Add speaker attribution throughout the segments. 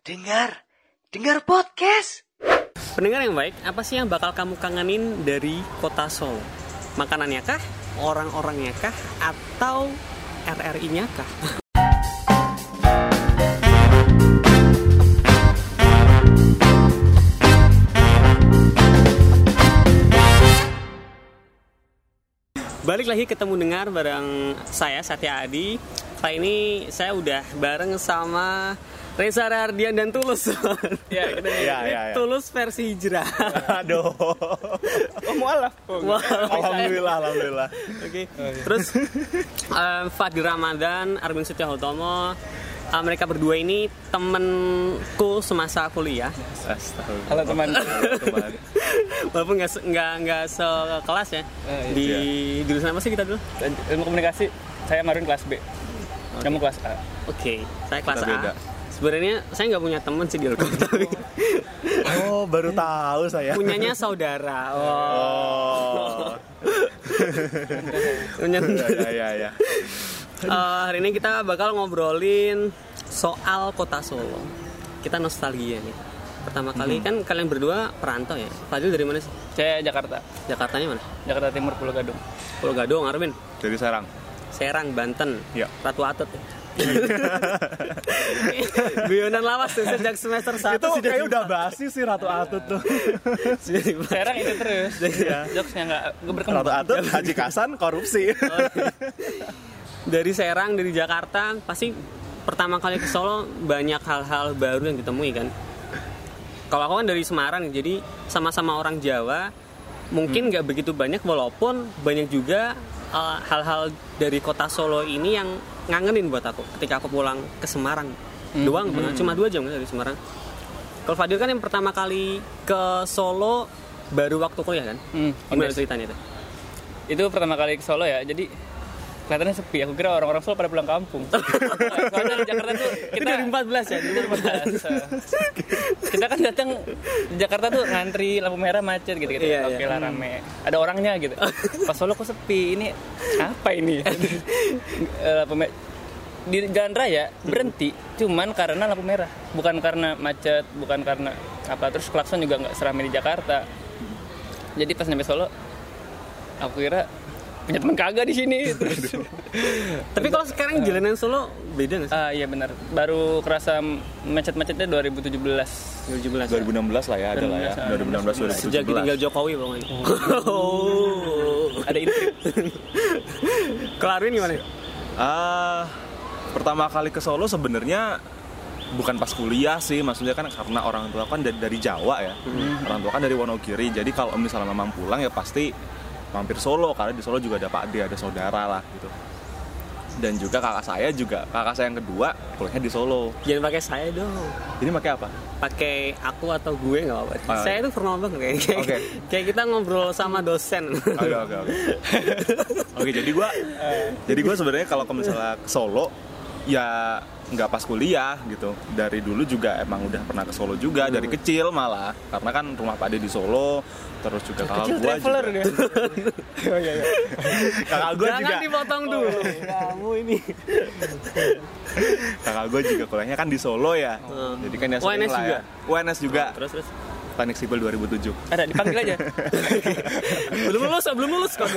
Speaker 1: Dengar, dengar podcast.
Speaker 2: Pendengar yang baik, apa sih yang bakal kamu kangenin dari kota Solo? Makanannya kah? Orang-orangnya kah? Atau RRI-nya kah? Balik lagi ketemu dengar bareng saya Satya Adi. Kali ini saya udah bareng sama Reza Rardian dan Tulus.
Speaker 3: Ya, kita
Speaker 2: Ini
Speaker 3: ya.
Speaker 4: Ya, ya, ya.
Speaker 2: Tulus versi hijrah.
Speaker 3: Iya,
Speaker 4: Aduh.
Speaker 3: Oh, mualaf. Oh,
Speaker 2: Wah.
Speaker 4: alhamdulillah, alhamdulillah.
Speaker 2: Oke. Terus eh, Fadli Ramadan, Armin Setiahotomo, eh, mereka berdua ini temenku semasa kuliah.
Speaker 4: Astagfirullah.
Speaker 3: Halo teman.
Speaker 2: Walaupun nggak se- nggak nggak sekelas ya.
Speaker 3: Eh, iya.
Speaker 2: Di jurusan apa sih kita dulu?
Speaker 3: Ilmu komunikasi, saya Marun kelas B. Kamu kelas A.
Speaker 2: Oke, saya kelas
Speaker 4: Kita beda.
Speaker 2: A. Sebenarnya saya nggak punya temen sih di Ilkom, tapi
Speaker 4: Oh, baru tahu saya.
Speaker 2: punyanya saudara. Oh,
Speaker 4: Oh.
Speaker 2: punya
Speaker 4: ya, ya, ya, ya.
Speaker 2: Eh, hari ini kita bakal ngobrolin soal kota Solo. Kita nostalgia nih. Pertama kali
Speaker 4: Mm-hmm.
Speaker 2: kan kalian berdua perantau ya. Fadil dari mana sih?
Speaker 3: Saya Jakarta.
Speaker 2: Jakartanya mana?
Speaker 3: Jakarta Timur Pulau Gadung.
Speaker 2: Pulau Gadung, Armin.
Speaker 4: Jadi sarang.
Speaker 2: Serang, Banten.
Speaker 4: Ya.
Speaker 2: Ratu Atut ya. Guyonan lawas tuh sejak semester 1
Speaker 4: Itu kayaknya udah basi sih Ratu Atut tuh.
Speaker 3: Serang itu terus.
Speaker 4: Iya.
Speaker 3: Jokesnya nggak nggak berkembang.
Speaker 4: Ratu Atut, Haji Kasan, korupsi.
Speaker 2: dari Serang, dari Jakarta pasti pertama kali ke Solo banyak hal-hal baru yang ditemui kan. Kalau aku kan dari Semarang, jadi sama-sama orang Jawa,
Speaker 3: Hmm.
Speaker 2: mungkin nggak begitu banyak, walaupun banyak juga eh, hal-hal dari kota Solo ini yang ngangenin buat aku. Ketika aku pulang ke Semarang,
Speaker 3: Hmm.
Speaker 2: doang, banget, cuma dua jam kan dari Semarang. Kalau Fadil kan yang pertama kali ke Solo baru waktu kuliah kan?
Speaker 3: Hmm,
Speaker 2: Gimana
Speaker 3: oke.
Speaker 2: ceritanya itu?
Speaker 3: Itu pertama kali ke Solo ya. Jadi kelihatannya sepi. Aku kira orang-orang Solo pada pulang kampung. Soalnya di Jakarta tuh
Speaker 2: Itu
Speaker 3: kita
Speaker 2: dari 14 ya? Dari 14.
Speaker 3: ya. kita kan datang di Jakarta tuh ngantri lampu merah macet gitu gitu.
Speaker 2: Iya,
Speaker 3: Oke
Speaker 2: iya.
Speaker 3: lah rame. Ada orangnya gitu. Pas Solo kok sepi. Ini apa ini? Eh, lampu me- di jalan raya berhenti cuman karena lampu merah, bukan karena macet, bukan karena apa. Terus klakson juga nggak seramai di Jakarta. Jadi pas nyampe Solo aku kira punya teman kagak di sini. Terus,
Speaker 2: Tapi kalau sekarang jalanan Solo beda nggak sih?
Speaker 3: Eh. ah iya benar. Baru kerasa macet-macetnya 2017
Speaker 2: 2017 ya?
Speaker 4: 2016 lah ya, ada lah ya. 2016, 2017.
Speaker 2: Sejak ditinggal Jokowi bang Oh. ini.
Speaker 3: ada intrik
Speaker 2: Kelarin gimana?
Speaker 4: Ah, pertama kali ke Solo sebenarnya bukan pas kuliah sih, maksudnya kan karena orang tua kan dari, dari Jawa ya, orang tua kan dari Wonogiri, jadi kalau misalnya mamang pulang ya pasti mampir Solo karena di Solo juga ada Pak D, ada saudara lah gitu. Dan juga kakak saya juga, kakak saya yang kedua kuliahnya di Solo.
Speaker 2: Jangan pakai saya dong.
Speaker 4: Ini pakai apa?
Speaker 2: Pakai aku atau gue nggak apa-apa.
Speaker 4: Ah.
Speaker 2: Saya itu formal banget kayak kayak,
Speaker 4: Oke.
Speaker 2: kayak kita ngobrol sama dosen.
Speaker 4: Oke oke oke. Oke jadi gua jadi gua sebenarnya kalau ke misalnya ke Solo ya nggak pas kuliah gitu. Dari dulu juga emang udah pernah ke Solo juga dari
Speaker 2: Hmm.
Speaker 4: kecil malah karena kan rumah Pak Ade di Solo terus juga kakak
Speaker 3: kecil
Speaker 4: gua
Speaker 3: traveler
Speaker 4: juga.
Speaker 3: dia iya iya iya
Speaker 4: Kakak gua
Speaker 2: Jangan
Speaker 4: juga
Speaker 2: dipotong
Speaker 3: Oh,
Speaker 2: dulu. Kamu ini.
Speaker 4: kakak gua juga kuliahnya kan di Solo ya.
Speaker 2: Hmm.
Speaker 4: Jadi kan ya
Speaker 2: UNS
Speaker 4: sering lah
Speaker 2: juga? Oh,
Speaker 4: ya. UNS juga.
Speaker 2: Terus terus.
Speaker 4: Teknik sipil 2007.
Speaker 3: ada dipanggil aja
Speaker 2: Belum lulus, belum lulus kok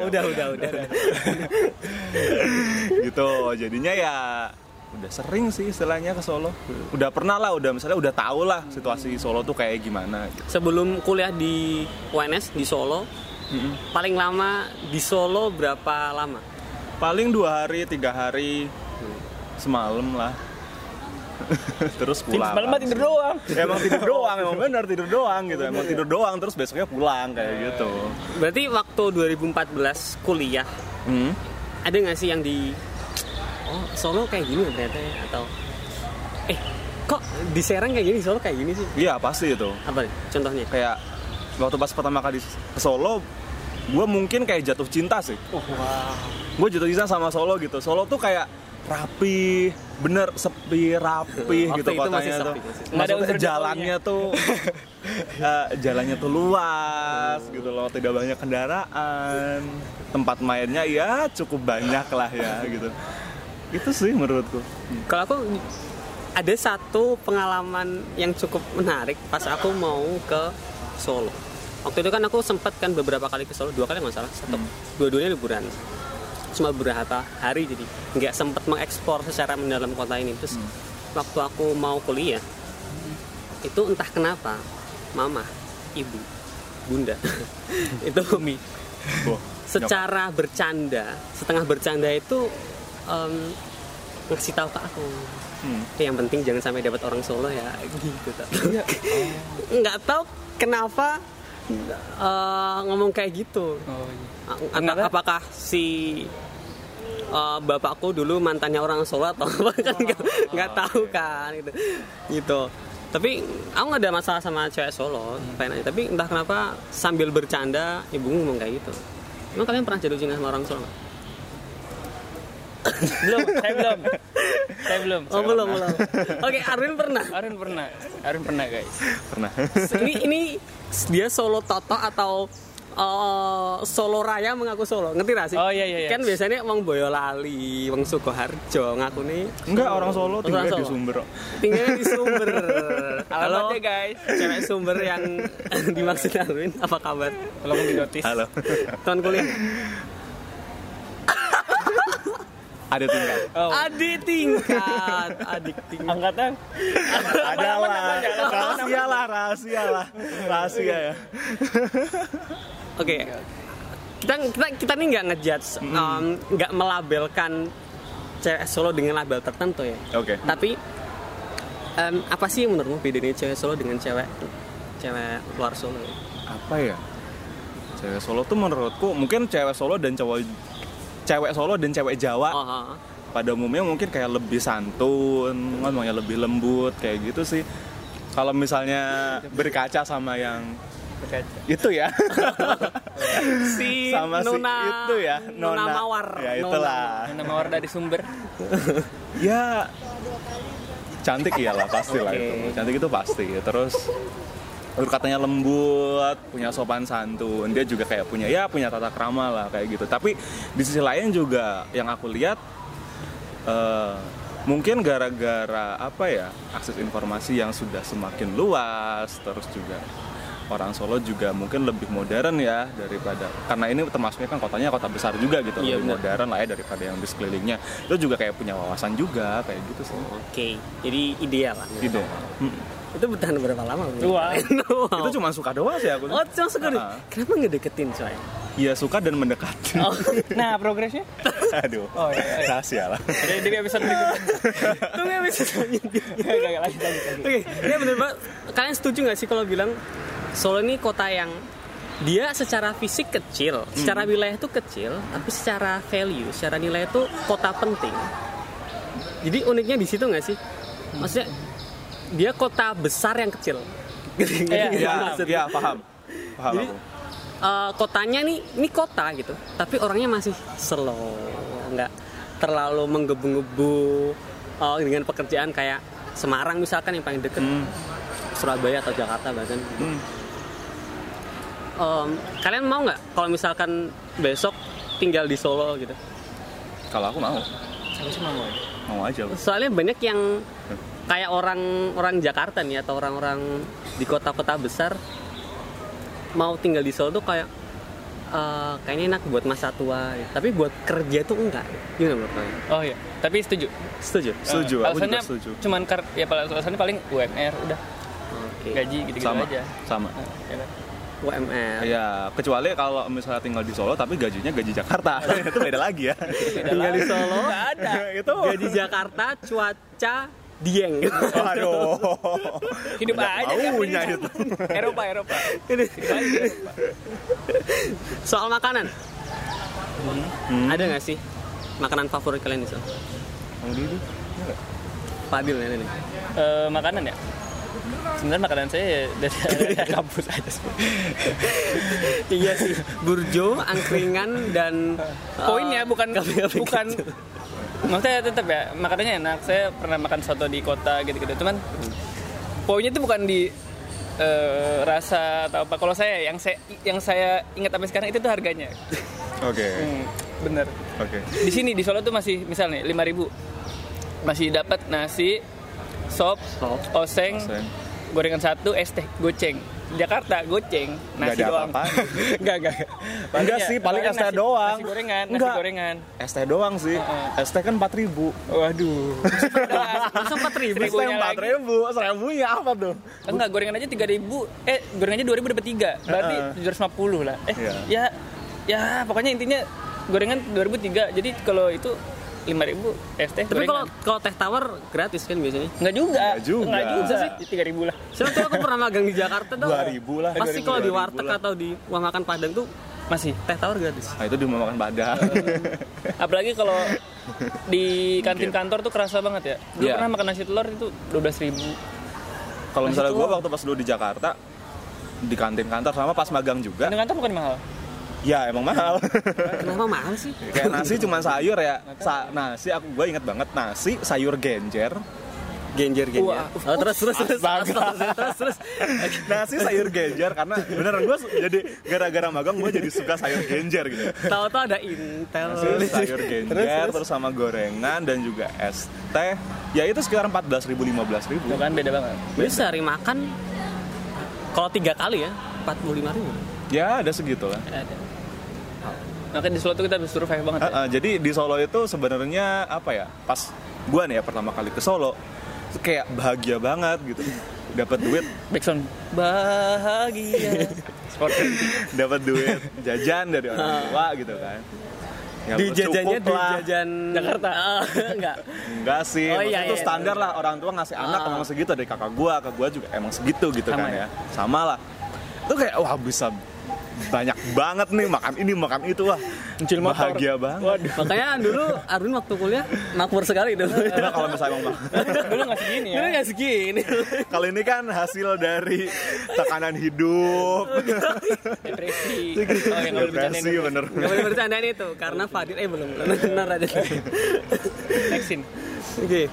Speaker 2: 2017. Udah, udah, udah.
Speaker 4: gitu jadinya ya udah sering sih istilahnya ke Solo udah pernah lah udah misalnya udah tau lah situasi Solo tuh kayak gimana gitu.
Speaker 2: Sebelum kuliah di UNS di Solo, paling lama di Solo berapa lama?
Speaker 4: paling dua hari tiga hari semalam lah terus pulang
Speaker 3: malam tidur doang
Speaker 4: emang tidur doang emang benar tidur doang gitu emang tidur doang terus besoknya pulang kayak gitu
Speaker 3: Iya.
Speaker 2: Berarti waktu 2014 kuliah
Speaker 4: Hmm.
Speaker 2: ada nggak sih yang di oh Solo kayak gini ya ternyata ya? atau eh kok di Serang kayak gini Solo kayak gini sih
Speaker 4: iya pasti itu
Speaker 2: apa nih contohnya
Speaker 4: kayak waktu pas pertama kali ke Solo gue mungkin kayak jatuh cinta sih
Speaker 2: Oh,
Speaker 4: gue jatuh cinta sama Solo gitu Solo tuh kayak rapi bener sepi rapi
Speaker 2: Waktu
Speaker 4: gitu
Speaker 2: itu
Speaker 4: kotanya
Speaker 2: masih
Speaker 4: tuh
Speaker 2: sepi, masih sepi.
Speaker 3: Nggak ada
Speaker 4: Maksudnya
Speaker 3: unsur
Speaker 4: jalannya tuh eh, jalannya tuh luas gitu loh tidak banyak kendaraan tempat mainnya ya cukup banyak lah ya gitu itu sih menurutku
Speaker 2: kalau aku ada satu pengalaman yang cukup menarik pas aku mau ke Solo. Waktu itu kan aku sempat kan beberapa kali ke Solo, dua kali nggak salah, satu, dua-duanya liburan. Cuma beberapa hari jadi nggak sempat mengekspor secara mendalam kota ini. Terus waktu aku mau kuliah itu entah kenapa mama, ibu, bunda itu mi
Speaker 4: Wah,
Speaker 2: secara bercanda, setengah bercanda itu em, ngasih tahu ke aku
Speaker 4: nyokap. Hmm.
Speaker 2: Eh, yang penting jangan sampai dapat orang Solo ya gitu Tat.
Speaker 3: Iya.
Speaker 2: nggak tahu kenapa eh, ngomong kayak gitu
Speaker 3: Oh, iya.
Speaker 2: Apa-
Speaker 3: Kenapa?
Speaker 2: apakah si eh, bapakku dulu mantannya orang Solo atau apa kan nggak nggak tahu kan gitu gitu tapi aku nggak ada masalah sama cewek Solo pengen aja. tapi entah kenapa sambil bercanda ibu ngomong kayak gitu emang kalian pernah jatuh cinta sama orang Solo nggak?
Speaker 3: belum saya belum saya belum
Speaker 2: oh belum belum oke Arwin pernah
Speaker 3: Arun pernah Arun pernah guys
Speaker 4: Pernah.
Speaker 2: ini ini dia solo toto atau eh, solo raya mengaku solo ngerti gak sih
Speaker 3: Oh, iya, iya, iya.
Speaker 2: kan biasanya wong boyolali wong sukoharjo ngaku nih
Speaker 4: Enggak orang
Speaker 2: Orang
Speaker 4: Solo tinggal di
Speaker 2: Solo.
Speaker 4: Sumber. kok.
Speaker 2: tinggalnya di sumber halo
Speaker 3: alamatnya guys
Speaker 2: cewek sumber yang dimaksud Arwin apa kabar
Speaker 3: tolong di notis
Speaker 4: Halo.
Speaker 2: tuan kuliah
Speaker 4: Ada tinggal.
Speaker 3: oh
Speaker 2: adik tingkat adik tingkat
Speaker 3: angkatan
Speaker 4: Ada lah. Rahasia lah, rahasia lah. Rahasia ya.
Speaker 2: oke kita kita kita nih nggak ngejudge em, nggak melabelkan cewek solo dengan label tertentu ya
Speaker 4: Oke.
Speaker 2: Tapi em, apa sih menurutmu bedanya cewek Solo dengan cewek cewek luar Solo?
Speaker 4: Apa ya? Cewek Solo tuh menurutku mungkin cewek Solo dan cowok cewek Solo dan cewek Jawa
Speaker 2: Oh, oh, oh.
Speaker 4: pada umumnya mungkin kayak lebih santun, ngomongnya lebih lembut kayak gitu sih. Kalau misalnya berkaca sama yang itu ya.
Speaker 2: si
Speaker 4: sama
Speaker 2: Nona
Speaker 4: si itu ya,
Speaker 2: Nona, Mawar. Nona.
Speaker 4: Ya itulah.
Speaker 3: nama mawar dari sumber
Speaker 4: Ya cantik iyalah pasti lah
Speaker 2: Oke.
Speaker 4: itu. Cantik itu pasti. Terus berkatanya lembut, punya sopan santun. Dia juga kayak punya ya punya tata krama lah kayak gitu. Tapi di sisi lain juga yang aku lihat eh, mungkin gara-gara apa ya akses informasi yang sudah semakin luas terus juga orang Solo juga mungkin lebih modern ya daripada karena ini termasuknya kan kotanya kota besar juga gitu
Speaker 2: Iya,
Speaker 4: lebih
Speaker 2: benar.
Speaker 4: modern lah ya daripada yang di sekelilingnya itu juga kayak punya wawasan juga kayak gitu sih
Speaker 2: Oke, jadi ideal lah.
Speaker 4: gitu Hmm.
Speaker 2: Itu bertahan berapa lama? Bu?
Speaker 3: Dua. Oh.
Speaker 2: Wow.
Speaker 4: itu cuma suka doang sih aku
Speaker 2: Oh, langsung sekali.
Speaker 4: Ah.
Speaker 2: Kenapa ngedeketin coy?
Speaker 4: iya suka dan mendekati
Speaker 3: nah progresnya
Speaker 4: aduh
Speaker 3: Oh, iya, iya.
Speaker 4: rahasia lah
Speaker 3: dari dari episode berikutnya
Speaker 2: Tunggu kan bisa
Speaker 3: Gak, gak, gak, lanjut lanjut lanjut.
Speaker 2: Oke, ini bener banget. Kalian setuju nggak sih kalau bilang Solo ini kota yang dia secara fisik kecil,
Speaker 3: Hmm.
Speaker 2: secara wilayah itu kecil, tapi secara value, secara nilai itu kota penting. Jadi uniknya di situ nggak sih?
Speaker 3: Hmm.
Speaker 2: Maksudnya dia kota besar yang kecil. Gitu, gitu,
Speaker 3: Iya,
Speaker 2: gitu
Speaker 4: ya
Speaker 2: maksudnya.
Speaker 4: ya paham paham
Speaker 2: Jadi-
Speaker 4: aku
Speaker 2: Eh, kotanya nih, ini kota gitu, tapi orangnya masih slow, nggak terlalu menggebu-gebu eh, dengan pekerjaan kayak Semarang misalkan yang paling deket.
Speaker 4: Hmm.
Speaker 2: Surabaya atau Jakarta bahkan
Speaker 4: Hmm.
Speaker 2: Em, kalian mau nggak kalau misalkan besok tinggal di Solo gitu
Speaker 4: kalau aku mau
Speaker 3: Aku sih mau ya.
Speaker 4: mau aja aku.
Speaker 2: soalnya banyak yang kayak orang orang Jakarta nih atau orang-orang di kota-kota besar mau tinggal di Solo tuh kayak eh, kayaknya enak buat masa tua gitu. tapi buat kerja tuh enggak gimana menurut kalian
Speaker 3: oh iya tapi setuju
Speaker 2: setuju
Speaker 4: setuju aku
Speaker 3: Eh, alasannya
Speaker 4: juga setuju
Speaker 3: cuman kar ya paling alasannya paling UMR udah
Speaker 2: oke
Speaker 3: gaji gitu gitu
Speaker 4: sama
Speaker 3: aja
Speaker 4: sama
Speaker 3: Ya kan?
Speaker 2: UMR
Speaker 4: Ya, kecuali kalau misalnya tinggal di Solo tapi gajinya gaji Jakarta. itu beda lagi ya.
Speaker 2: tinggal di Solo
Speaker 3: Nggak ada
Speaker 4: itu
Speaker 2: gaji Jakarta cuaca dieng
Speaker 4: Aduh.
Speaker 3: hidup aja tiap
Speaker 4: Maunya
Speaker 3: hari.
Speaker 4: itu.
Speaker 3: Eropa Eropa
Speaker 2: Soal makanan, ada nggak sih makanan favorit kalian di sana? Fadil ya ini.
Speaker 3: Eh, makanan ya sebenarnya makanan saya ya dari dari kampus aja sih
Speaker 2: iya sih, burjo, angkringan dan ya, eh,
Speaker 3: poinnya bukan
Speaker 2: Kambing-kambing
Speaker 3: bukan maksudnya tetap ya makanannya enak saya pernah makan soto di kota gitu-gitu cuman poinnya itu bukan di eh, rasa atau apa kalau saya yang saya yang saya ingat sampai sekarang itu tuh harganya
Speaker 4: Oke.
Speaker 3: Hmm, bener
Speaker 4: Oke.
Speaker 3: di sini di Solo tuh masih misalnya lima ribu masih dapat nasi sop,
Speaker 2: Sop.
Speaker 3: oseng,
Speaker 4: Oseng.
Speaker 3: gorengan satu, es teh, goceng. Jakarta goceng,
Speaker 4: Nggak
Speaker 3: nasi
Speaker 4: ada
Speaker 3: doang.
Speaker 4: apa-apaan.
Speaker 3: Enggak, enggak.
Speaker 4: Enggak sih, paling es teh doang.
Speaker 3: ya, Nasi gorengan, nasi
Speaker 4: Nggak.
Speaker 3: gorengan.
Speaker 4: ST doang sih. ST kan 4000.
Speaker 3: Waduh.
Speaker 2: Masa 4.000?
Speaker 4: ST
Speaker 3: Seribunya lagi.
Speaker 4: 4000, 1000-nya apa tuh?
Speaker 3: Enggak, gorengan aja 3000. Eh, gorengan aja 2000 dapat 3. Berarti
Speaker 4: Heeh.
Speaker 3: 750 lah. Eh,
Speaker 4: Iya.
Speaker 3: ya ya pokoknya intinya gorengan 2003. Jadi kalau itu 5000 es teh
Speaker 2: Tapi kalau
Speaker 3: gorengan.
Speaker 2: kalau teh tawar gratis kan biasanya.
Speaker 3: Enggak juga.
Speaker 4: Nggak juga.
Speaker 3: Nggak juga sih. 3000 lah.
Speaker 2: Soalnya tuh aku pernah magang di Jakarta tuh.
Speaker 4: 2000 lah.
Speaker 2: Pasti kalau di
Speaker 4: 2000
Speaker 2: warteg
Speaker 4: lah.
Speaker 2: atau di rumah makan Padang tuh
Speaker 3: Masih.
Speaker 2: teh tawar gratis.
Speaker 4: Nah, itu di rumah makan badang.
Speaker 3: Apalagi kalau di kantin kantor tuh kerasa banget ya. Dulu
Speaker 4: Iya.
Speaker 3: pernah makan nasi telur itu 12.000.
Speaker 4: Kalau
Speaker 3: Nasi
Speaker 4: misalnya gue
Speaker 3: tua.
Speaker 4: waktu pas dulu di Jakarta di kantin kantor sama pas magang juga,
Speaker 3: Kantin kantor bukan mahal.
Speaker 4: ya emang mahal.
Speaker 2: Kenapa mahal sih?
Speaker 4: Kayak nasi cuma sayur ya. Sa- nasi aku gue inget banget nasi sayur genjer.
Speaker 2: Genjer genjer.
Speaker 3: Wah.
Speaker 4: ya?
Speaker 2: Oh, terus terus terus. Terus terus. terus.
Speaker 4: Nasi sayur genjer karena beneran gue jadi gara-gara magang gue jadi suka sayur genjer gitu.
Speaker 2: Tahu-tahu ada Intel.
Speaker 4: Nasi sayur genjer terus, sama gorengan dan juga es teh. Ya itu sekitar 14.000
Speaker 3: Tuh
Speaker 4: 15.000.
Speaker 3: kan beda banget.
Speaker 2: Ini sehari makan kalau tiga kali ya 45 ribu.
Speaker 4: Ya ada segitulah.
Speaker 3: Ada. Makanya di Solo tuh kita bisa survive banget ya.
Speaker 4: Uh-uh, jadi di Solo itu sebenarnya apa ya? Pas gua nih ya pertama kali ke Solo, itu kayak bahagia banget gitu. Dapat duit,
Speaker 3: Backsound bahagia. Seperti
Speaker 4: dapat duit jajan dari orang tua gitu kan. Ya,
Speaker 2: Di
Speaker 4: cukup
Speaker 2: jajannya di
Speaker 4: lah.
Speaker 2: jajan
Speaker 3: Jakarta.
Speaker 2: enggak.
Speaker 4: Enggak sih,
Speaker 2: Oh,
Speaker 4: maksudnya
Speaker 2: iya,
Speaker 4: itu
Speaker 2: iya,
Speaker 4: standar lah orang tua ngasih anak
Speaker 2: Ah.
Speaker 4: emang segitu dari kakak gua, kakak gua juga emang segitu gitu
Speaker 3: Sama
Speaker 4: kan
Speaker 3: ya?
Speaker 4: ya. Sama lah. Itu kayak wah bisa banyak banget nih makan ini makan itu lah.
Speaker 3: Mencil motor.
Speaker 4: Bahagia banget.
Speaker 3: Waduh.
Speaker 2: Makanya dulu Arun waktu kuliah makmur sekali dulu.
Speaker 4: Nah, kalau misalnya emang
Speaker 3: Dulu nggak segini ya.
Speaker 2: Dulu
Speaker 4: Iya.
Speaker 2: nggak segini.
Speaker 4: Kali ini kan hasil dari tekanan hidup,
Speaker 3: Depresi. Oh, yang nggak boleh
Speaker 4: depresi
Speaker 3: bercandain.
Speaker 4: bener.
Speaker 2: Gak boleh bercandaan itu karena Fadil eh belum belum benar aja.
Speaker 3: Vaksin.
Speaker 2: Oke. Ah.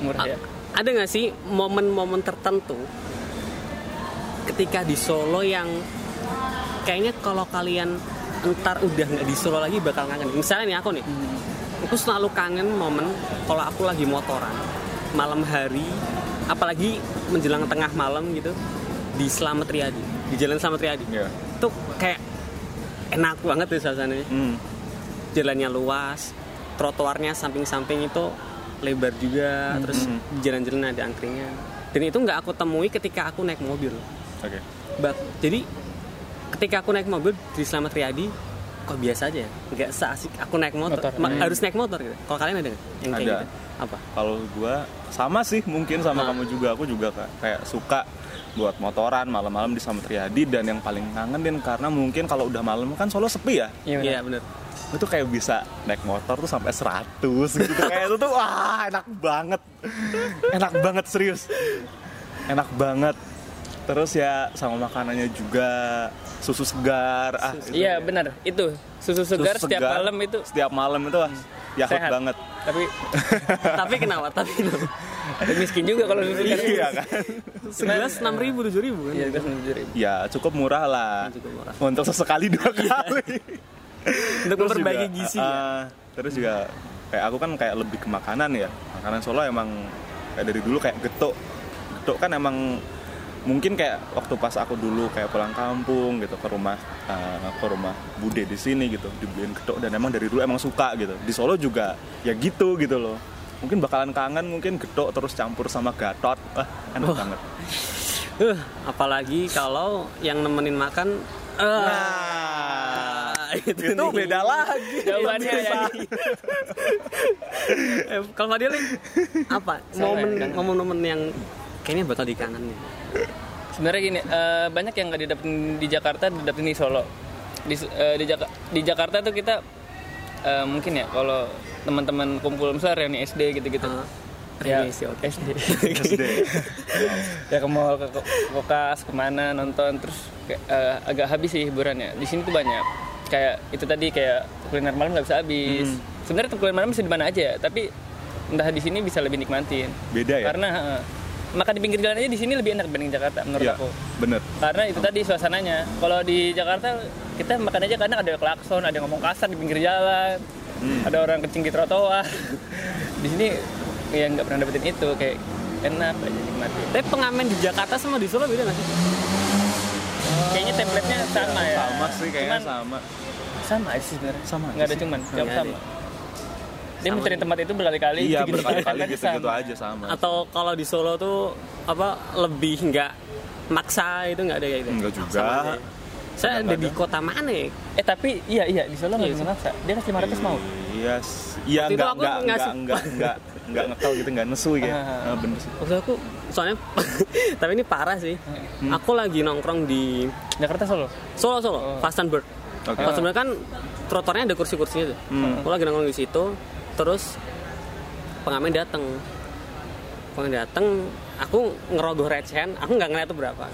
Speaker 3: Murah ya.
Speaker 2: Ada nggak sih momen-momen tertentu ketika di Solo yang kayaknya kalau kalian entar udah nggak di Solo lagi bakal kangen. Misalnya nih aku nih, aku selalu kangen momen kalau aku lagi motoran malam hari, apalagi menjelang tengah malam gitu di Slamet Riyadi, di Jalan Slamet Riyadi.
Speaker 4: Iya.
Speaker 2: Itu kayak enak banget tuh suasananya.
Speaker 4: Hmm.
Speaker 2: jalannya luas, trotoarnya samping-samping itu lebar juga, terus jalan-jalan ada angkringan. Dan itu nggak aku temui ketika aku naik mobil.
Speaker 4: Oke.
Speaker 2: Bak, jadi ketika aku naik mobil di Slamet Riyadi kok biasa aja ya? Nggak seasik aku naik motor,
Speaker 3: Motor.
Speaker 2: Ma-
Speaker 3: Hmm.
Speaker 2: harus naik motor gitu. Kalau kalian ada nggak yang kayak
Speaker 4: Ada.
Speaker 2: gitu? Apa?
Speaker 4: Kalau gua sama sih mungkin sama
Speaker 2: Ah.
Speaker 3: Nah.
Speaker 4: kamu juga aku juga Kak, kayak suka buat motoran malam-malam di Sametriadi dan yang paling kangenin karena mungkin kalau udah malam kan Solo sepi ya.
Speaker 3: Iya benar.
Speaker 2: Iya bener.
Speaker 4: Itu kayak bisa naik motor tuh sampai 100 gitu. kayak itu tuh wah enak banget. Enak banget serius. Enak banget. Terus ya sama makanannya juga susu segar. Ah, itu
Speaker 3: Iya
Speaker 4: ya.
Speaker 3: benar. Itu susu segar
Speaker 4: Susu
Speaker 3: setiap
Speaker 4: segar,
Speaker 3: malam itu Hmm.
Speaker 4: Setiap malam itu wah, yakult
Speaker 3: sehat
Speaker 4: banget.
Speaker 3: Tapi
Speaker 2: Tapi kenapa? Tapi kenapa?
Speaker 3: tapi miskin juga kalau susu segar.
Speaker 4: Iya kan?
Speaker 2: Segelas enam ribu tujuh ribu kan?
Speaker 3: Iya, gas 7.000.
Speaker 4: Ya cukup murah lah.
Speaker 2: Ah, Cukup murah.
Speaker 4: Untuk sesekali dua kali.
Speaker 2: Untuk
Speaker 4: Terus
Speaker 2: memperbaiki
Speaker 4: juga,
Speaker 2: gizi.
Speaker 4: uh,
Speaker 2: ya?
Speaker 4: uh, terus juga kayak aku kan kayak lebih ke makanan ya. Makanan Solo emang kayak dari dulu kayak getuk. Getuk kan emang mungkin kayak waktu pas aku dulu kayak pulang kampung gitu ke rumah uh, ke rumah bude di sini gitu dibeliin getuk dan emang dari dulu emang suka gitu di Solo juga ya gitu gitu loh mungkin bakalan kangen mungkin getuk terus campur sama gatot ah enak banget
Speaker 2: Eh, apalagi kalau yang nemenin makan. eh,
Speaker 4: Nah,
Speaker 2: itu
Speaker 4: itu
Speaker 2: nih.
Speaker 4: beda lagi.
Speaker 3: Jawabannya ya.
Speaker 2: Iya. Eh, kalau Fadil Ling, apa
Speaker 3: Saya
Speaker 2: momen
Speaker 3: kangen.
Speaker 2: momen-momen yang kayaknya bakal dikangenin
Speaker 3: Sebenarnya gini, eh, banyak yang nggak didapetin di Jakarta, didapetin di Solo. Di, eh, di, Jaka- di Jakarta tuh kita eh, mungkin ya kalau teman-teman kumpul misalnya reuni SD gitu-gitu.
Speaker 2: Eh,
Speaker 3: ya,
Speaker 2: reuni SD, oke.
Speaker 3: SD.
Speaker 4: SD.
Speaker 3: ya ke mall, ke ke- kokas, kemana nonton terus kayak, eh, agak habis sih hiburannya. Di sini tuh banyak. Kayak itu tadi kayak kuliner malam nggak bisa habis.
Speaker 4: Hmm.
Speaker 3: Sebenarnya kuliner malam bisa di mana aja, tapi entah di sini bisa lebih nikmatin.
Speaker 4: Beda ya?
Speaker 3: Karena eh, makan di pinggir jalan aja di sini lebih enak dibanding Jakarta menurut
Speaker 4: Iya,
Speaker 3: aku.
Speaker 4: bener.
Speaker 3: Karena itu tadi suasananya. Kalau di Jakarta kita makan aja kadang ada klakson, ada yang ngomong kasar di pinggir jalan,
Speaker 4: Hmm.
Speaker 3: ada orang kencing di trotoar. di sini ya nggak pernah dapetin itu kayak enak aja nikmatin
Speaker 2: Tapi pengamen di Jakarta sama di Solo beda nggak sih?
Speaker 3: kayaknya template-nya sama ya
Speaker 4: sama sih kayaknya
Speaker 3: Cuman-
Speaker 4: sama
Speaker 3: sama aja sih sebenarnya
Speaker 4: Sama aja
Speaker 3: nggak ada
Speaker 4: sih.
Speaker 3: cuman
Speaker 4: Sama
Speaker 3: jawab
Speaker 2: aja.
Speaker 3: sama dia
Speaker 2: Sama
Speaker 3: muterin
Speaker 2: aja.
Speaker 3: tempat itu berkali-kali
Speaker 4: iya
Speaker 3: gitu-gitu.
Speaker 4: berkali-kali
Speaker 3: Tapi
Speaker 4: gitu-gitu
Speaker 3: sama.
Speaker 4: aja sama
Speaker 2: Atau kalau di Solo tuh apa lebih nggak maksa itu nggak ada kayak gitu?
Speaker 4: Enggak juga.
Speaker 2: Sama aja. Saya ada di
Speaker 4: Kadang-kadang.
Speaker 2: kota mana ya?
Speaker 3: eh tapi iya iya di Solo nggak
Speaker 2: Iya
Speaker 3: bisa
Speaker 2: sih.
Speaker 3: maksa dia kasih 500 mau
Speaker 4: iya s- iya
Speaker 2: Waktu itu
Speaker 4: enggak
Speaker 2: aku
Speaker 4: enggak enggak
Speaker 2: ngasih-
Speaker 4: enggak enggak enggak ngekal gitu enggak nesu ya
Speaker 3: Ah.
Speaker 4: Ah, bener sih
Speaker 2: Maksud aku soalnya tapi ini parah sih. Aku lagi nongkrong di
Speaker 3: Jakarta Solo
Speaker 4: Eh.
Speaker 2: Solo Solo,
Speaker 3: Hmm. Oh.
Speaker 2: Fastenberg.
Speaker 4: Oke.
Speaker 2: Fastenberg kan trotoarnya ada kursi-kursinya tuh.
Speaker 4: Hmm.
Speaker 2: Aku lagi nongkrong di situ, terus pengamen datang. Pengamen datang, aku ngerogoh recehan, aku nggak ngeliat itu berapa.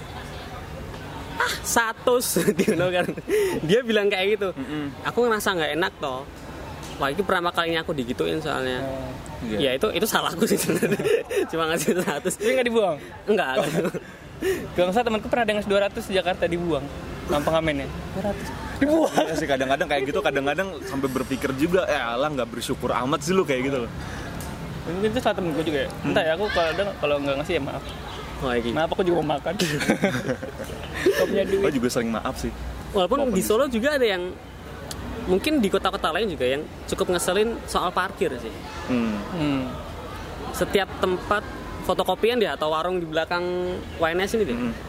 Speaker 2: Ah, satu dia bilang kan. Dia bilang kayak gitu. Aku ngerasa nggak enak toh. Wah, itu pertama kalinya aku digituin soalnya. Ya
Speaker 4: Iya.
Speaker 2: itu itu salahku sih sebenarnya. Cuma ngasih 100.
Speaker 3: tapi nggak dibuang
Speaker 2: Enggak.
Speaker 4: Oh.
Speaker 3: Gak usah temanku pernah dengan 200 di Jakarta dibuang sama pengamennya 200 dibuang
Speaker 4: Iya sih kadang-kadang kayak gitu kadang-kadang sampai berpikir juga eh alah nggak bersyukur amat sih lu kayak gitu loh
Speaker 3: mungkin itu salah temenku juga
Speaker 4: Hmm.
Speaker 3: ya entah ya aku kalau ada kalau nggak ngasih ya maaf
Speaker 2: Oh,
Speaker 4: Nah,
Speaker 2: lagi.
Speaker 3: maaf aku juga mau makan Gak punya
Speaker 4: gue
Speaker 3: duit
Speaker 4: juga sering maaf sih
Speaker 2: Walaupun
Speaker 4: Maupun
Speaker 2: di
Speaker 4: di
Speaker 2: Solo juga ada yang mungkin di kota-kota lain juga yang cukup ngeselin soal parkir sih.
Speaker 4: hmm.
Speaker 3: hmm.
Speaker 2: Setiap tempat fotokopian deh atau warung di belakang YNS ini deh.
Speaker 3: Hmm.
Speaker 4: Mm-mm.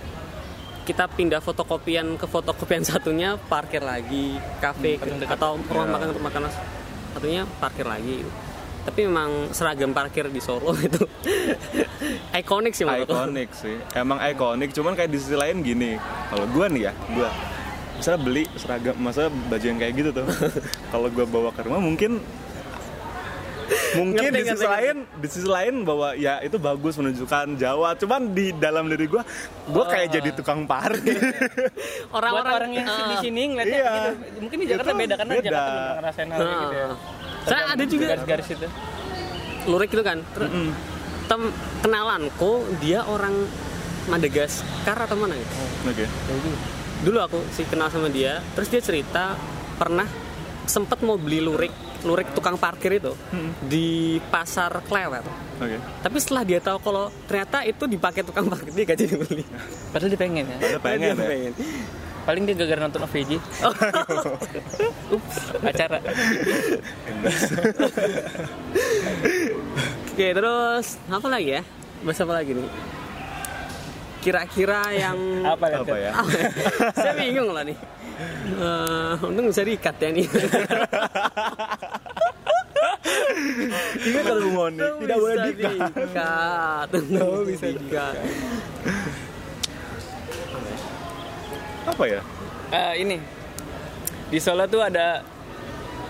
Speaker 2: Kita pindah fotokopian ke fotokopian satunya parkir lagi, kafe
Speaker 3: Hmm, paling dekat.
Speaker 2: atau rumah
Speaker 4: Iya.
Speaker 2: makan rumah makan satunya parkir lagi. Tapi memang seragam parkir di Solo itu ikonik sih menurut aku.
Speaker 4: ikonik sih emang ikonik cuman kayak di sisi lain gini kalau gua nih ya gua misalnya beli seragam masa baju yang kayak gitu tuh kalau gua bawa ke rumah mungkin mungkin
Speaker 2: Ngerti,
Speaker 4: di sisi
Speaker 2: ngerti,
Speaker 4: lain di sisi lain bahwa ya itu bagus menunjukkan Jawa cuman di dalam diri gua gua kayak
Speaker 2: Ah.
Speaker 4: jadi tukang parkir
Speaker 3: Buat
Speaker 2: Orang-orang
Speaker 3: orang yang di
Speaker 2: Ah.
Speaker 3: sini ngeliatnya
Speaker 4: Iya.
Speaker 3: gitu. Mungkin di Jakarta
Speaker 4: Itu
Speaker 3: beda karena
Speaker 4: beda. Ah.
Speaker 3: Jakarta belum ngerasain hal kayak gitu ya.
Speaker 2: Nah. Saya ada juga.
Speaker 3: garis-garis itu.
Speaker 2: lurik itu kan Ter- tem kenalanku dia orang Madagaskar atau mana gitu
Speaker 4: oke
Speaker 2: dulu aku sih kenal sama dia terus dia cerita pernah sempet mau beli lurik lurik tukang parkir itu di pasar klewer
Speaker 4: oke
Speaker 2: tapi setelah dia tahu kalau ternyata itu dipakai tukang parkir dia gak jadi beli
Speaker 3: Padahal dia pengen ya.
Speaker 4: Padahal pengen
Speaker 2: Dia
Speaker 4: ya
Speaker 2: pengen.
Speaker 3: Paling dia gagal nonton OVJ. Ups, acara.
Speaker 2: oke terus apa lagi ya bahas apa lagi nih kira-kira yang
Speaker 3: Apa, ya?
Speaker 4: apa ya
Speaker 2: saya bingung lah nih Eh, untung bisa diikat ya nih
Speaker 4: ingat kalau Bu Moni tidak boleh Oh, dikat
Speaker 2: diikat bisa diikat
Speaker 4: apa ya
Speaker 3: Eh, ini. Di Solo tuh ada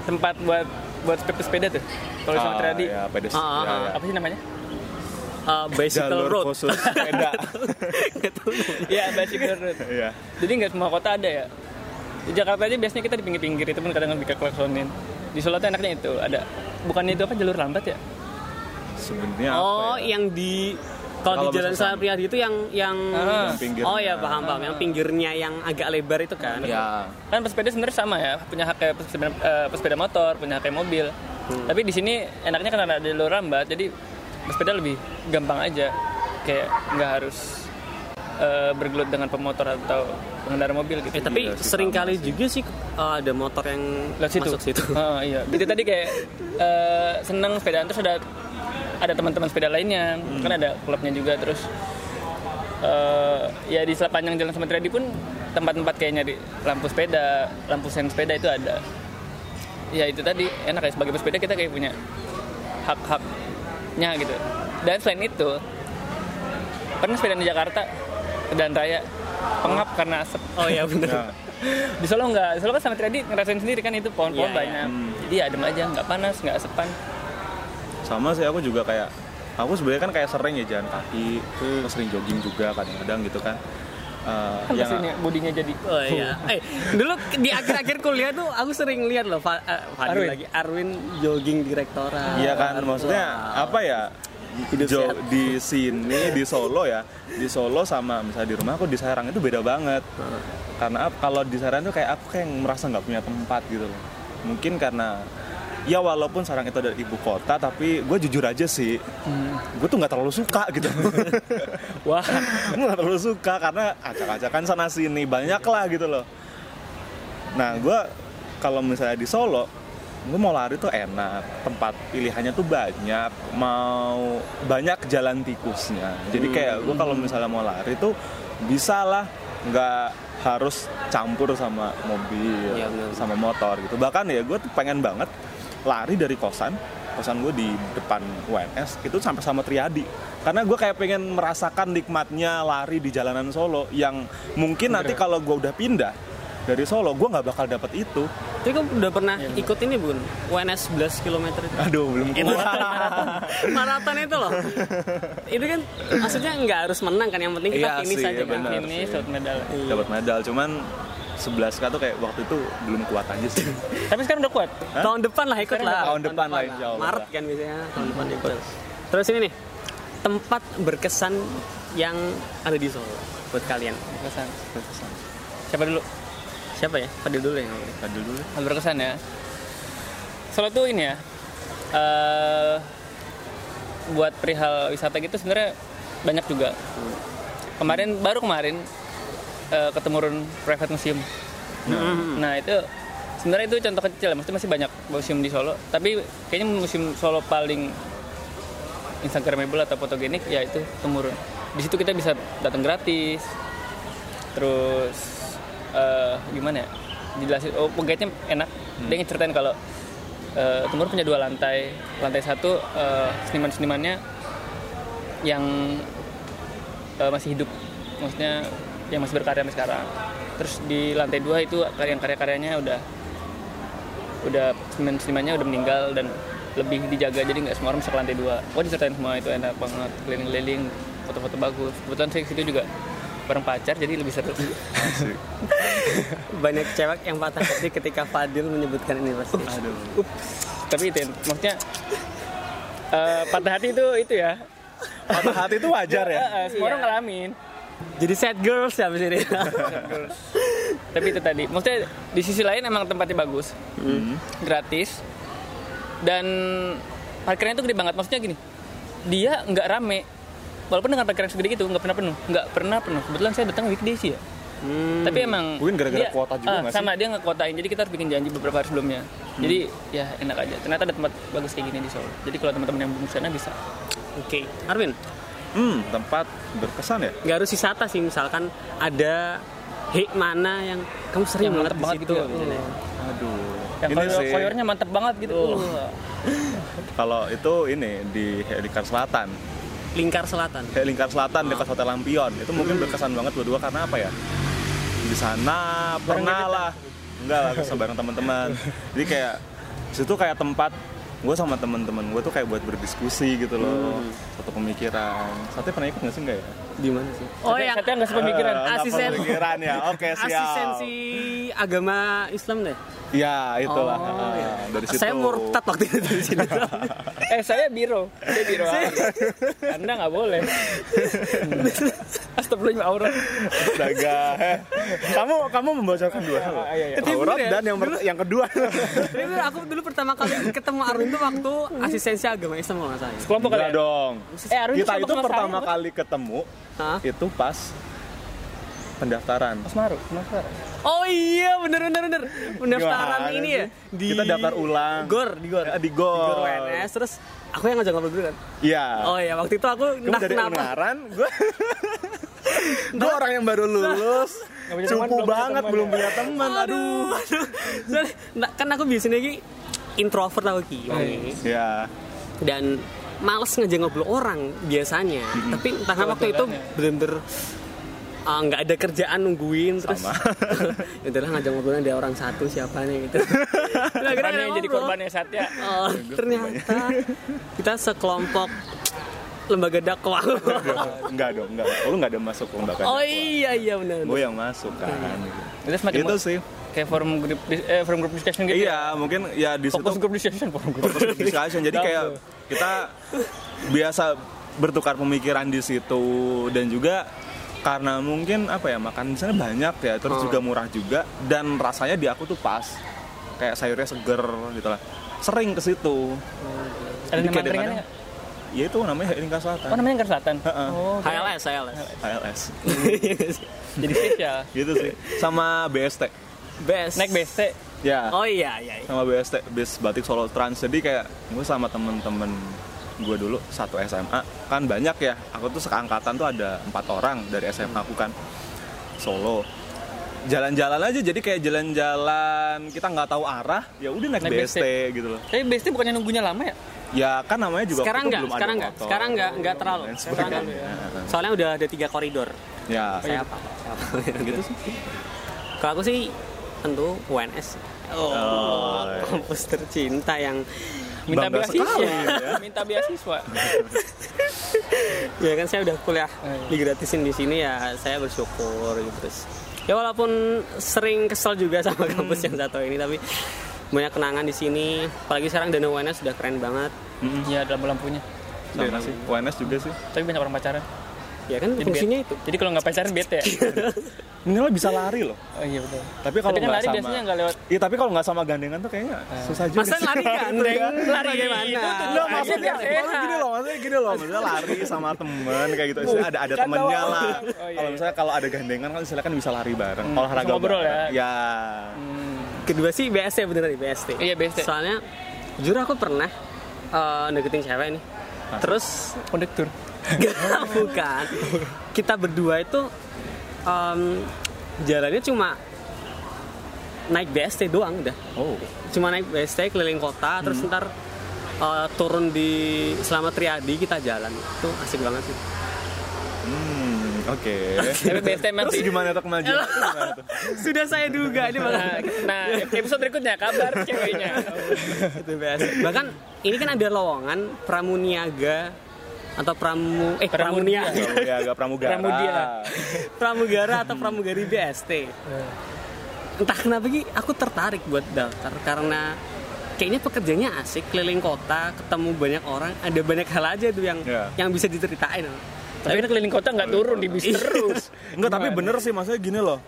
Speaker 3: tempat buat buat sepeda tuh. Kalau sama
Speaker 4: Ah,
Speaker 3: Triadi.
Speaker 4: ya, pedes-
Speaker 2: Ah, ah, ah.
Speaker 4: ya, ya.
Speaker 3: Apa sih namanya?
Speaker 2: Eh, bicycle
Speaker 4: jalur
Speaker 2: road
Speaker 4: khusus ya? sepeda
Speaker 2: Nggak tahu.
Speaker 3: Iya, bicycle road.
Speaker 4: iya
Speaker 3: Jadi nggak semua kota ada ya. Di Jakarta aja biasanya kita di pinggir-pinggir itu pun kadang kita klaksonin. Di Solo tuh enaknya itu ada bukannya itu apa jalur lambat ya?
Speaker 4: sebenarnya apa
Speaker 2: oh
Speaker 4: ya?
Speaker 2: yang di kalau
Speaker 4: Kalau
Speaker 2: di jalan
Speaker 4: Besar
Speaker 2: Sarapria itu yang yang
Speaker 3: Ah.
Speaker 4: Yang pinggirnya.
Speaker 2: oh ya paham paham yang pinggirnya yang agak lebar itu kan
Speaker 4: ya
Speaker 3: kan pesepeda sebenarnya sama ya punya hak kayak pesepeda, eh, pesepeda motor punya hak kayak mobil
Speaker 2: Hmm.
Speaker 3: tapi di sini enaknya karena ada jalur rambat jadi pesepeda lebih gampang aja kayak nggak harus eh, bergelut dengan pemotor atau pengendara mobil gitu
Speaker 2: eh, tapi
Speaker 4: Iya sih,
Speaker 2: sering
Speaker 4: paham
Speaker 2: kali juga sih eh, ada motor yang
Speaker 3: Lewat situ.
Speaker 2: masuk situ
Speaker 3: Ah, iya. Jadi tadi kayak eh, seneng sepedaan terus ada ada teman-teman sepeda lainnya,
Speaker 2: Hmm.
Speaker 3: kan ada klubnya juga terus eh, ya di sepanjang jalan Sumatera di pun tempat-tempat kayak nyari lampu sepeda, lampu sen sepeda itu ada. Ya itu tadi enak ya sebagai pesepeda kita kayak punya hak-haknya gitu. Dan selain itu pernah sepeda di Jakarta dan raya pengap karena asap
Speaker 2: oh ya benar
Speaker 4: Ya.
Speaker 3: di Solo nggak di Solo kan sama Triadi ngerasain sendiri kan itu
Speaker 2: Iya,
Speaker 3: pohon-pohon
Speaker 2: iya.
Speaker 3: banyak jadi ya adem aja nggak panas nggak sepan
Speaker 4: sama sih aku juga kayak aku sebenarnya kan kayak sering ya jalan kaki terus sering jogging juga kadang-kadang gitu kan Eh,
Speaker 2: Iya,
Speaker 3: kan
Speaker 4: yang-
Speaker 3: pastinya bodinya jadi
Speaker 2: Oh iya. Eh, dulu di akhir-akhir kuliah tuh aku sering lihat loh Fa- eh, Fadil
Speaker 3: Arwin.
Speaker 2: lagi Arwin jogging direktorat.
Speaker 4: iya kan maksudnya apa ya Jo-
Speaker 2: sehat.
Speaker 4: di sini di Solo ya di Solo sama misalnya di rumah aku di Serang itu beda banget karena ap- kalau di Serang tuh kayak aku kayak merasa nggak punya tempat gitu loh mungkin karena ya walaupun sarang itu ada di ibu kota tapi gue jujur aja sih
Speaker 2: Hmm.
Speaker 4: gue tuh nggak terlalu suka gitu
Speaker 3: Wah,
Speaker 4: gue nggak terlalu suka karena acak-acakan sana sini banyak lah gitu loh nah gue kalau misalnya di Solo gue mau lari tuh enak tempat pilihannya tuh banyak mau banyak jalan tikusnya jadi
Speaker 2: Hmm.
Speaker 4: kayak gue kalau misalnya mau lari tuh bisa lah nggak harus campur sama mobil
Speaker 2: Iya, benar.
Speaker 4: sama motor gitu bahkan ya gue tuh pengen banget lari dari kosan kosan gue di depan UNS itu sampai sama Triadi karena gue kayak pengen merasakan nikmatnya lari di jalanan Solo yang mungkin nanti kalau gue udah pindah dari Solo gue nggak bakal dapat itu
Speaker 2: Tapi kamu udah pernah
Speaker 4: Iya.
Speaker 2: ikut ini bun? UNS 11 km itu
Speaker 4: aduh belum keluar
Speaker 2: Maraton itu loh Itu kan maksudnya nggak harus menang kan Yang penting kita
Speaker 4: Iya
Speaker 2: finish
Speaker 4: sih,
Speaker 2: aja kan
Speaker 4: benar.
Speaker 3: ini short medal.
Speaker 2: Iya.
Speaker 4: dapat medal cuman 11 k tuh kayak waktu itu belum kuat aja sih
Speaker 3: Tapi sekarang udah kuat.
Speaker 4: Hah?
Speaker 2: Tahun depan lah ikut lah
Speaker 4: Tahun depan lah, insya Allah.
Speaker 2: Maret kan biasanya tahun depan ikut Terus ini nih Tempat berkesan yang ada di Solo Buat kalian
Speaker 3: Berkesan. Siapa dulu?
Speaker 2: Siapa ya? Fadil dulu yang ngomong.
Speaker 4: Tadi dulu deh.
Speaker 3: Hal berkesan ya. Solo tuh ini ya. eh, buat perihal wisata gitu sebenarnya banyak juga. Kemarin baru kemarin eh, ketemu Run Private Museum. Nah itu sebenarnya itu contoh kecil, ya, maksudnya masih banyak museum di Solo. Tapi kayaknya museum Solo paling instagramable atau fotogenik ya itu temurun. Di situ kita bisa datang gratis. Terus eh, gimana ya? Dijelasin, oh guide-nya enak. Dia ngeceritain kalau eh, temurun punya dua lantai. Lantai satu eh, seniman-senimannya yang eh, masih hidup maksudnya yang masih berkarya sampai sekarang terus di lantai dua itu karya karya-karyanya udah udah seniman senimannya udah meninggal dan lebih dijaga jadi nggak semua orang bisa ke lantai dua wah diceritain semua itu enak banget keliling-keliling foto-foto bagus kebetulan saya ke situ juga bareng pacar jadi lebih seru
Speaker 2: Banyak cewek yang patah hati ketika Fadil menyebutkan ini Uh, pasti Aduh
Speaker 3: tapi itu yang- maksudnya eh, patah hati itu itu ya
Speaker 4: patah hati itu wajar ya
Speaker 3: Eh, eh, semua orang ngalamin
Speaker 2: Jadi sad girls ya abis ini
Speaker 3: tapi itu tadi maksudnya di sisi lain emang tempatnya bagus Hmm. gratis dan parkirnya itu gede banget maksudnya gini dia nggak rame walaupun dengan parkiran segede gitu nggak pernah penuh nggak pernah penuh kebetulan saya datang weekday sih ya tapi emang
Speaker 4: Mungkin
Speaker 3: dia-
Speaker 4: gara-gara kuota juga
Speaker 3: ah,
Speaker 4: nggak sih?
Speaker 3: sama dia nggak kuotain jadi kita harus bikin janji beberapa hari sebelumnya jadi ya enak aja ternyata ada tempat bagus kayak gini di Solo jadi kalau teman-teman yang belum ke sana bisa
Speaker 2: Oke Arvin
Speaker 4: hmm tempat berkesan ya
Speaker 2: nggak harus wisata sih misalkan ada hik mana yang kamu sering
Speaker 3: Yang
Speaker 2: banget
Speaker 3: mantep
Speaker 2: di
Speaker 3: banget
Speaker 2: situ Hmm.
Speaker 3: gitu ya,
Speaker 2: misalnya.
Speaker 4: aduh
Speaker 3: yang
Speaker 4: ini
Speaker 3: koyor-
Speaker 4: sih Oh.
Speaker 3: koyornya mantep banget gitu Wah.
Speaker 4: kalau itu ini di Helingkar Selatan
Speaker 2: lingkar selatan
Speaker 4: kayak lingkar selatan dekat hotel Lampion itu mungkin
Speaker 3: Hmm.
Speaker 4: berkesan banget berdua karena apa ya di sana pernah lah enggak lah kesel bareng teman-teman jadi kayak situ kayak tempat gue sama teman-teman gue tuh kayak buat berdiskusi gitu loh
Speaker 3: Hmm.
Speaker 4: satu pemikiran satu pernah ikut nggak sih enggak ya
Speaker 2: di mana sih
Speaker 3: oh yang satu yang nggak sepemikiran
Speaker 4: Eh, nggak
Speaker 2: asisten.
Speaker 4: pemikiran ya oke siap
Speaker 2: asistensi agama Islam deh
Speaker 4: ya itulah
Speaker 2: Oh,
Speaker 3: iya.
Speaker 4: Eh, dari situ
Speaker 2: saya murtad waktu itu di sini
Speaker 3: Eh saya biro, saya biro. Anda nggak boleh. Astagfirullah aurat.
Speaker 4: Astaga. kamu kamu membocorkan dua hal
Speaker 3: Ah, iya, iya.
Speaker 4: Aurat dan yang per- yang kedua
Speaker 2: Tapi bener, aku dulu pertama kali ketemu Arvin itu waktu asistensi agama Islam kalau nggak salah ya.
Speaker 3: Kelompok
Speaker 4: Enggak
Speaker 3: kalian.
Speaker 4: dong
Speaker 3: Eh Arun
Speaker 4: kita itu pertama kali ketemu
Speaker 2: Hah?
Speaker 4: itu pas pendaftaran
Speaker 3: Mas Maru, Mas Maru.
Speaker 2: oh iya bener bener bener pendaftaran
Speaker 4: Gimana
Speaker 2: ini
Speaker 4: sih?
Speaker 2: ya di
Speaker 4: Kita daftar ulang.
Speaker 2: gor di gor
Speaker 4: Ya, di Gor.
Speaker 2: Gor UNS terus aku yang ngajak ngobrol dulu kan
Speaker 4: iya
Speaker 2: oh iya waktu itu aku
Speaker 4: Kamu
Speaker 2: entah
Speaker 4: dari
Speaker 2: kenapa
Speaker 4: ungaran gue gue orang yang baru lulus
Speaker 3: Nggak punya teman,
Speaker 4: cupu
Speaker 3: belum punya
Speaker 4: banget
Speaker 3: teman
Speaker 4: belum
Speaker 3: ya.
Speaker 4: punya teman aduh
Speaker 2: aduh. Soalnya, nah, kan aku biasanya ki introvert aku ki wonge.
Speaker 4: ya
Speaker 2: dan males ngejak ngobrol orang biasanya
Speaker 4: Hmm.
Speaker 2: tapi entah kenapa waktu itu
Speaker 3: Kebetulan ya.
Speaker 2: bener-bener ah, nggak ada kerjaan nungguin terus
Speaker 4: Sama.
Speaker 2: ya udahlah ngajak ngobrolnya ada orang satu siapa nih gitu Terus akhirnya ngajak
Speaker 3: Korbannya jadi ya,
Speaker 2: ngobrol.
Speaker 3: korbannya Satya.
Speaker 2: Oh, ternyata kita sekelompok lembaga dakwah
Speaker 4: enggak dong enggak lu enggak ada masuk lembaga
Speaker 2: oh iya iya benar
Speaker 4: gue yang masuk kan
Speaker 3: Itu semacam
Speaker 4: itu Gitu sih
Speaker 3: kayak forum grup dis- eh forum group discussion gitu. ya?
Speaker 4: iya mungkin ya di situ
Speaker 3: Fokus group discussion forum group.
Speaker 4: fokus ke discussion. Jadi kayak kita biasa bertukar pemikiran di situ dan juga karena mungkin apa ya makan di sana banyak ya terus juga murah juga dan rasanya di aku tuh pas kayak sayurnya seger gitu lah sering ke situ.
Speaker 3: Ada
Speaker 4: Jadi
Speaker 3: nama
Speaker 4: kadang-kadang-
Speaker 3: angkringannya nggak?
Speaker 4: Ya itu namanya Lingkar Selatan.
Speaker 3: Oh namanya Angker Selatan.
Speaker 4: Heeh.
Speaker 3: Oh, oke.
Speaker 2: HLS, HLS.
Speaker 4: ALS.
Speaker 3: Jadi spesial.
Speaker 4: gitu sih. Sama BST.
Speaker 2: Best.
Speaker 3: Naik BST.
Speaker 4: Ya.
Speaker 2: Oh iya, iya. iya.
Speaker 4: Sama BST, bis batik Solo Trans. Jadi kayak gue sama temen-temen gue dulu satu SMA kan banyak ya. Aku tuh seangkatan tuh ada empat orang dari SMA
Speaker 2: Hmm.
Speaker 4: aku kan Solo. Jalan-jalan aja jadi kayak jalan-jalan kita nggak tahu arah ya udah naik,
Speaker 3: Naik
Speaker 4: BST,
Speaker 3: BST.
Speaker 4: gitu loh.
Speaker 3: Tapi BST bukannya nunggunya lama ya?
Speaker 4: Ya kan namanya juga
Speaker 2: Sekarang
Speaker 4: waktu itu
Speaker 2: nggak,
Speaker 4: belum ada
Speaker 2: sekarang nggak,
Speaker 4: motor,
Speaker 2: sekarang nggak, nggak terlalu.
Speaker 4: dan
Speaker 2: Sekarang nggak.
Speaker 4: sebagainya.
Speaker 2: Soalnya udah ada tiga koridor.
Speaker 4: Ya,
Speaker 2: Saya apa?
Speaker 4: gitu sih.
Speaker 2: Kalau aku sih tentu UNS. Oh,
Speaker 4: Oh, iya.
Speaker 2: kampus tercinta yang
Speaker 3: Minta
Speaker 4: Bangga
Speaker 3: beasiswa.
Speaker 4: sekali, ya.
Speaker 3: Minta beasiswa.
Speaker 2: ya kan saya udah kuliah
Speaker 3: iya.
Speaker 2: digratisin di sini ya saya bersyukur gitu terus ya walaupun sering kesel juga sama
Speaker 3: Hmm.
Speaker 2: kampus yang satu ini tapi banyak kenangan di sini apalagi sekarang Danau UNS sudah keren banget
Speaker 3: Iya ada lampu-lampunya.
Speaker 2: iya,
Speaker 4: Sama sih. UNS juga sih.
Speaker 3: Tapi banyak orang pacaran.
Speaker 2: ya kan
Speaker 3: Jadi
Speaker 2: fungsinya
Speaker 3: bete.
Speaker 2: itu
Speaker 3: Jadi kalau nggak pacaran bete ya.
Speaker 4: Minimal bisa lari loh.
Speaker 3: Oh iya betul.
Speaker 4: Tapi kalau
Speaker 3: Tapi kan
Speaker 4: nggak
Speaker 3: lari
Speaker 4: sama.
Speaker 3: biasanya nggak lewat.
Speaker 4: Iya, tapi kalau nggak sama gandengan tuh kayaknya susah juga.
Speaker 2: Eh. masa
Speaker 4: sih.
Speaker 2: lari gandeng
Speaker 3: Iya.
Speaker 2: lari gimana
Speaker 4: Enggak, maksudnya
Speaker 3: Akhirnya
Speaker 4: maksudnya gini loh, maksudnya gini loh, maksudnya lari sama temen kayak gitu. Maksudnya ada ada
Speaker 3: Kan
Speaker 4: temennya
Speaker 3: doang.
Speaker 4: lah.
Speaker 3: Oh, iya,
Speaker 4: Kalau
Speaker 3: iya.
Speaker 4: misalnya kalau ada gandengan kan silakan bisa lari bareng, olahraga
Speaker 3: bisa ngobrol
Speaker 4: bareng.
Speaker 3: ya.
Speaker 4: Ya.
Speaker 2: kedua sih BST beneran nih BST
Speaker 3: Iya, BST.
Speaker 2: soalnya jujur aku pernah eh, deketin cewek nih terus
Speaker 3: Kondektur.
Speaker 2: Gak, bukan. Kita berdua itu em, jalannya cuma naik BST doang udah.
Speaker 4: Oh.
Speaker 2: Cuma naik BST keliling kota terus ntar eh, turun di Selamat Triadi kita jalan. Itu asik banget sih.
Speaker 4: Hmm, oke.
Speaker 3: Tapi BST emang
Speaker 4: Terus
Speaker 3: sih.
Speaker 4: gimana tuh kemajuan? Gimana tuh?
Speaker 2: Sudah saya duga ini
Speaker 3: Nah,
Speaker 2: bakal
Speaker 3: nah, episode berikutnya kabar ceweknya.
Speaker 2: itu BST. Bahkan ini kan ada lowongan Pramuniaga atau Pramu eh
Speaker 3: Pramudia.
Speaker 2: Pramuniaga.
Speaker 4: Ya, agak pramugara.
Speaker 3: Pramudia.
Speaker 2: pramugara atau pramugari BST. Entah kenapa Ki, aku tertarik buat daftar karena kayaknya pekerjaannya asik, keliling kota, ketemu banyak orang, ada banyak hal aja tuh yang
Speaker 4: Ya.
Speaker 2: yang bisa diceritain.
Speaker 3: Tapi ini keliling kota nggak turun di bis terus.
Speaker 4: Enggak, tapi bener sih maksudnya gini loh.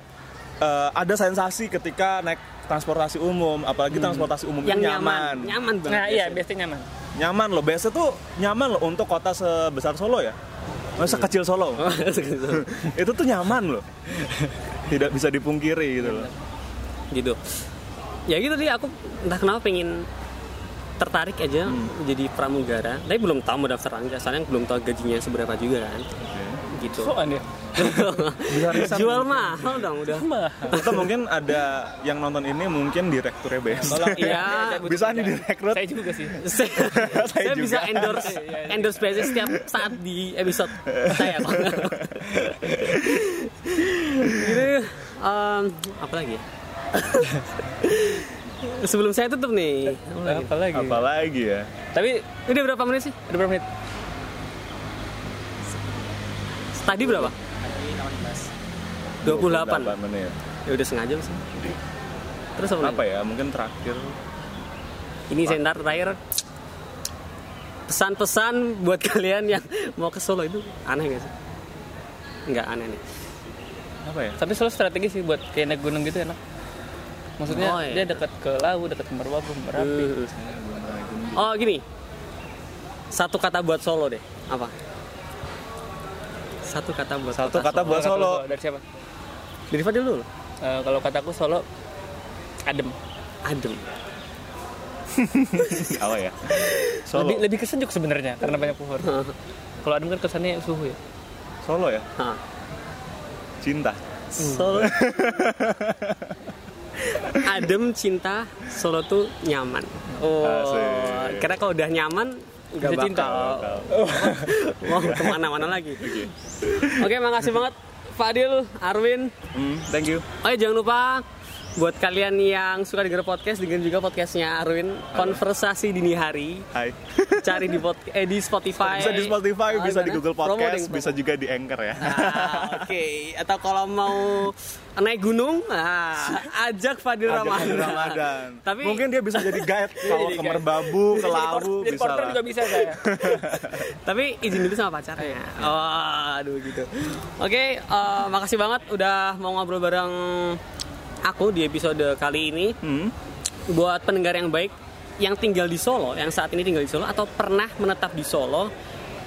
Speaker 4: Eh, ada sensasi ketika naik transportasi umum, apalagi
Speaker 3: Hmm.
Speaker 4: transportasi umum
Speaker 2: Yang
Speaker 4: itu
Speaker 2: nyaman, nyaman banget.
Speaker 3: Nah iya
Speaker 2: BST.
Speaker 3: BST nyaman.
Speaker 4: nyaman loh BSD tuh nyaman loh untuk kota sebesar Solo ya masa kecil Solo itu tuh nyaman loh tidak bisa dipungkiri gitu loh
Speaker 2: gitu. Ya gitu sih aku entah kenapa pengen tertarik aja jadi pramugara, tapi belum tahu mau daftar aja, soalnya belum tahu gajinya seberapa juga kan. Gitu.
Speaker 3: Soan ya.
Speaker 2: Jual mahal dong udah.
Speaker 4: atau mungkin ada yang nonton ini mungkin direkturnya BSD
Speaker 3: Tolong
Speaker 2: Iya.
Speaker 4: bisa nih direkrut
Speaker 3: Saya juga sih.
Speaker 2: saya, saya
Speaker 4: juga. Iya,
Speaker 2: bisa endorse endorse basis setiap saat di episode saya Pak. Gitu, em, apa lagi ya? sebelum saya tutup nih
Speaker 3: Apalagi.
Speaker 4: apalagi ya
Speaker 3: Tapi
Speaker 2: udah berapa menit sih
Speaker 3: udah berapa menit?
Speaker 2: tadi berapa 28
Speaker 4: menit
Speaker 2: ya udah sengaja sih terus apa,
Speaker 4: apa
Speaker 2: lagi?
Speaker 4: ya mungkin terakhir
Speaker 2: ini center terakhir pesan-pesan buat kalian yang mau ke Solo itu aneh gak sih nggak aneh nih
Speaker 4: apa ya
Speaker 3: Tapi selalu strategi sih buat kayak naik gunung gitu enak. Maksudnya
Speaker 2: Oh, iya. Eh,
Speaker 3: dia dekat ke laut, dekat ke Merbabu, Merapi.
Speaker 2: Oh gini, satu kata buat Solo deh, apa? Satu kata buat kota
Speaker 4: Satu kata
Speaker 2: Solo.
Speaker 4: buat-
Speaker 3: Kalau kata
Speaker 4: Solo.
Speaker 3: lu, Dari siapa?
Speaker 2: Dari Fadil dulu,
Speaker 3: Eh, kalau kataku Solo adem.
Speaker 2: adem.
Speaker 4: apa ya Solo
Speaker 3: Lebih lebih kesejuk sebenarnya karena banyak pohon. kalau adem kan kesannya suhu ya.
Speaker 4: Solo ya
Speaker 2: Hah.
Speaker 4: cinta
Speaker 2: Solo. adem cinta Solo tuh nyaman. Oh,
Speaker 4: Asik.
Speaker 2: karena kalau udah nyaman nggak
Speaker 3: Bisa
Speaker 2: bakal
Speaker 3: cinta.
Speaker 2: mau kemana-mana lagi. Oke, makasih banget Fadil, Arwin,
Speaker 4: Hmm, thank you
Speaker 2: Oh ya, jangan lupa buat kalian yang suka denger podcast dengerin juga podcastnya Arwin konversasi dini hari
Speaker 4: hai
Speaker 2: cari di pod- eh, di Spotify
Speaker 4: bisa di Spotify
Speaker 2: Oh,
Speaker 4: bisa di
Speaker 2: gimana?
Speaker 4: Google
Speaker 2: Promo
Speaker 4: Podcast
Speaker 2: deh, promo.
Speaker 4: bisa juga di Anchor ya
Speaker 2: Ah, oke atau kalau mau naik gunung ah, ajak Fadil
Speaker 4: Ada
Speaker 2: Ramadan,
Speaker 4: bulan Ramadan.
Speaker 2: tapi
Speaker 4: mungkin dia bisa jadi guide
Speaker 3: Jadi
Speaker 4: kalau
Speaker 3: guide.
Speaker 4: ke Merbabu, ke Lawu
Speaker 3: Jadi
Speaker 4: bisa
Speaker 3: porter
Speaker 4: lah.
Speaker 3: juga bisa saya.
Speaker 2: ya? tapi izin dulu sama pacarnya oh, aduh gitu oke eh, makasih banget udah mau ngobrol bareng aku di episode kali ini
Speaker 4: Hmm,
Speaker 2: buat pendengar yang baik yang tinggal di Solo, yang saat ini tinggal di Solo atau pernah menetap di Solo,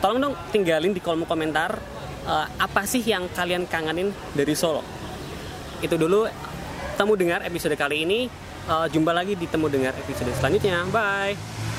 Speaker 2: tolong dong tinggalin di kolom komentar eh, apa sih yang kalian kangenin dari Solo. Itu dulu temu dengar episode kali ini. Eh, jumpa lagi di temu dengar episode selanjutnya. Bye.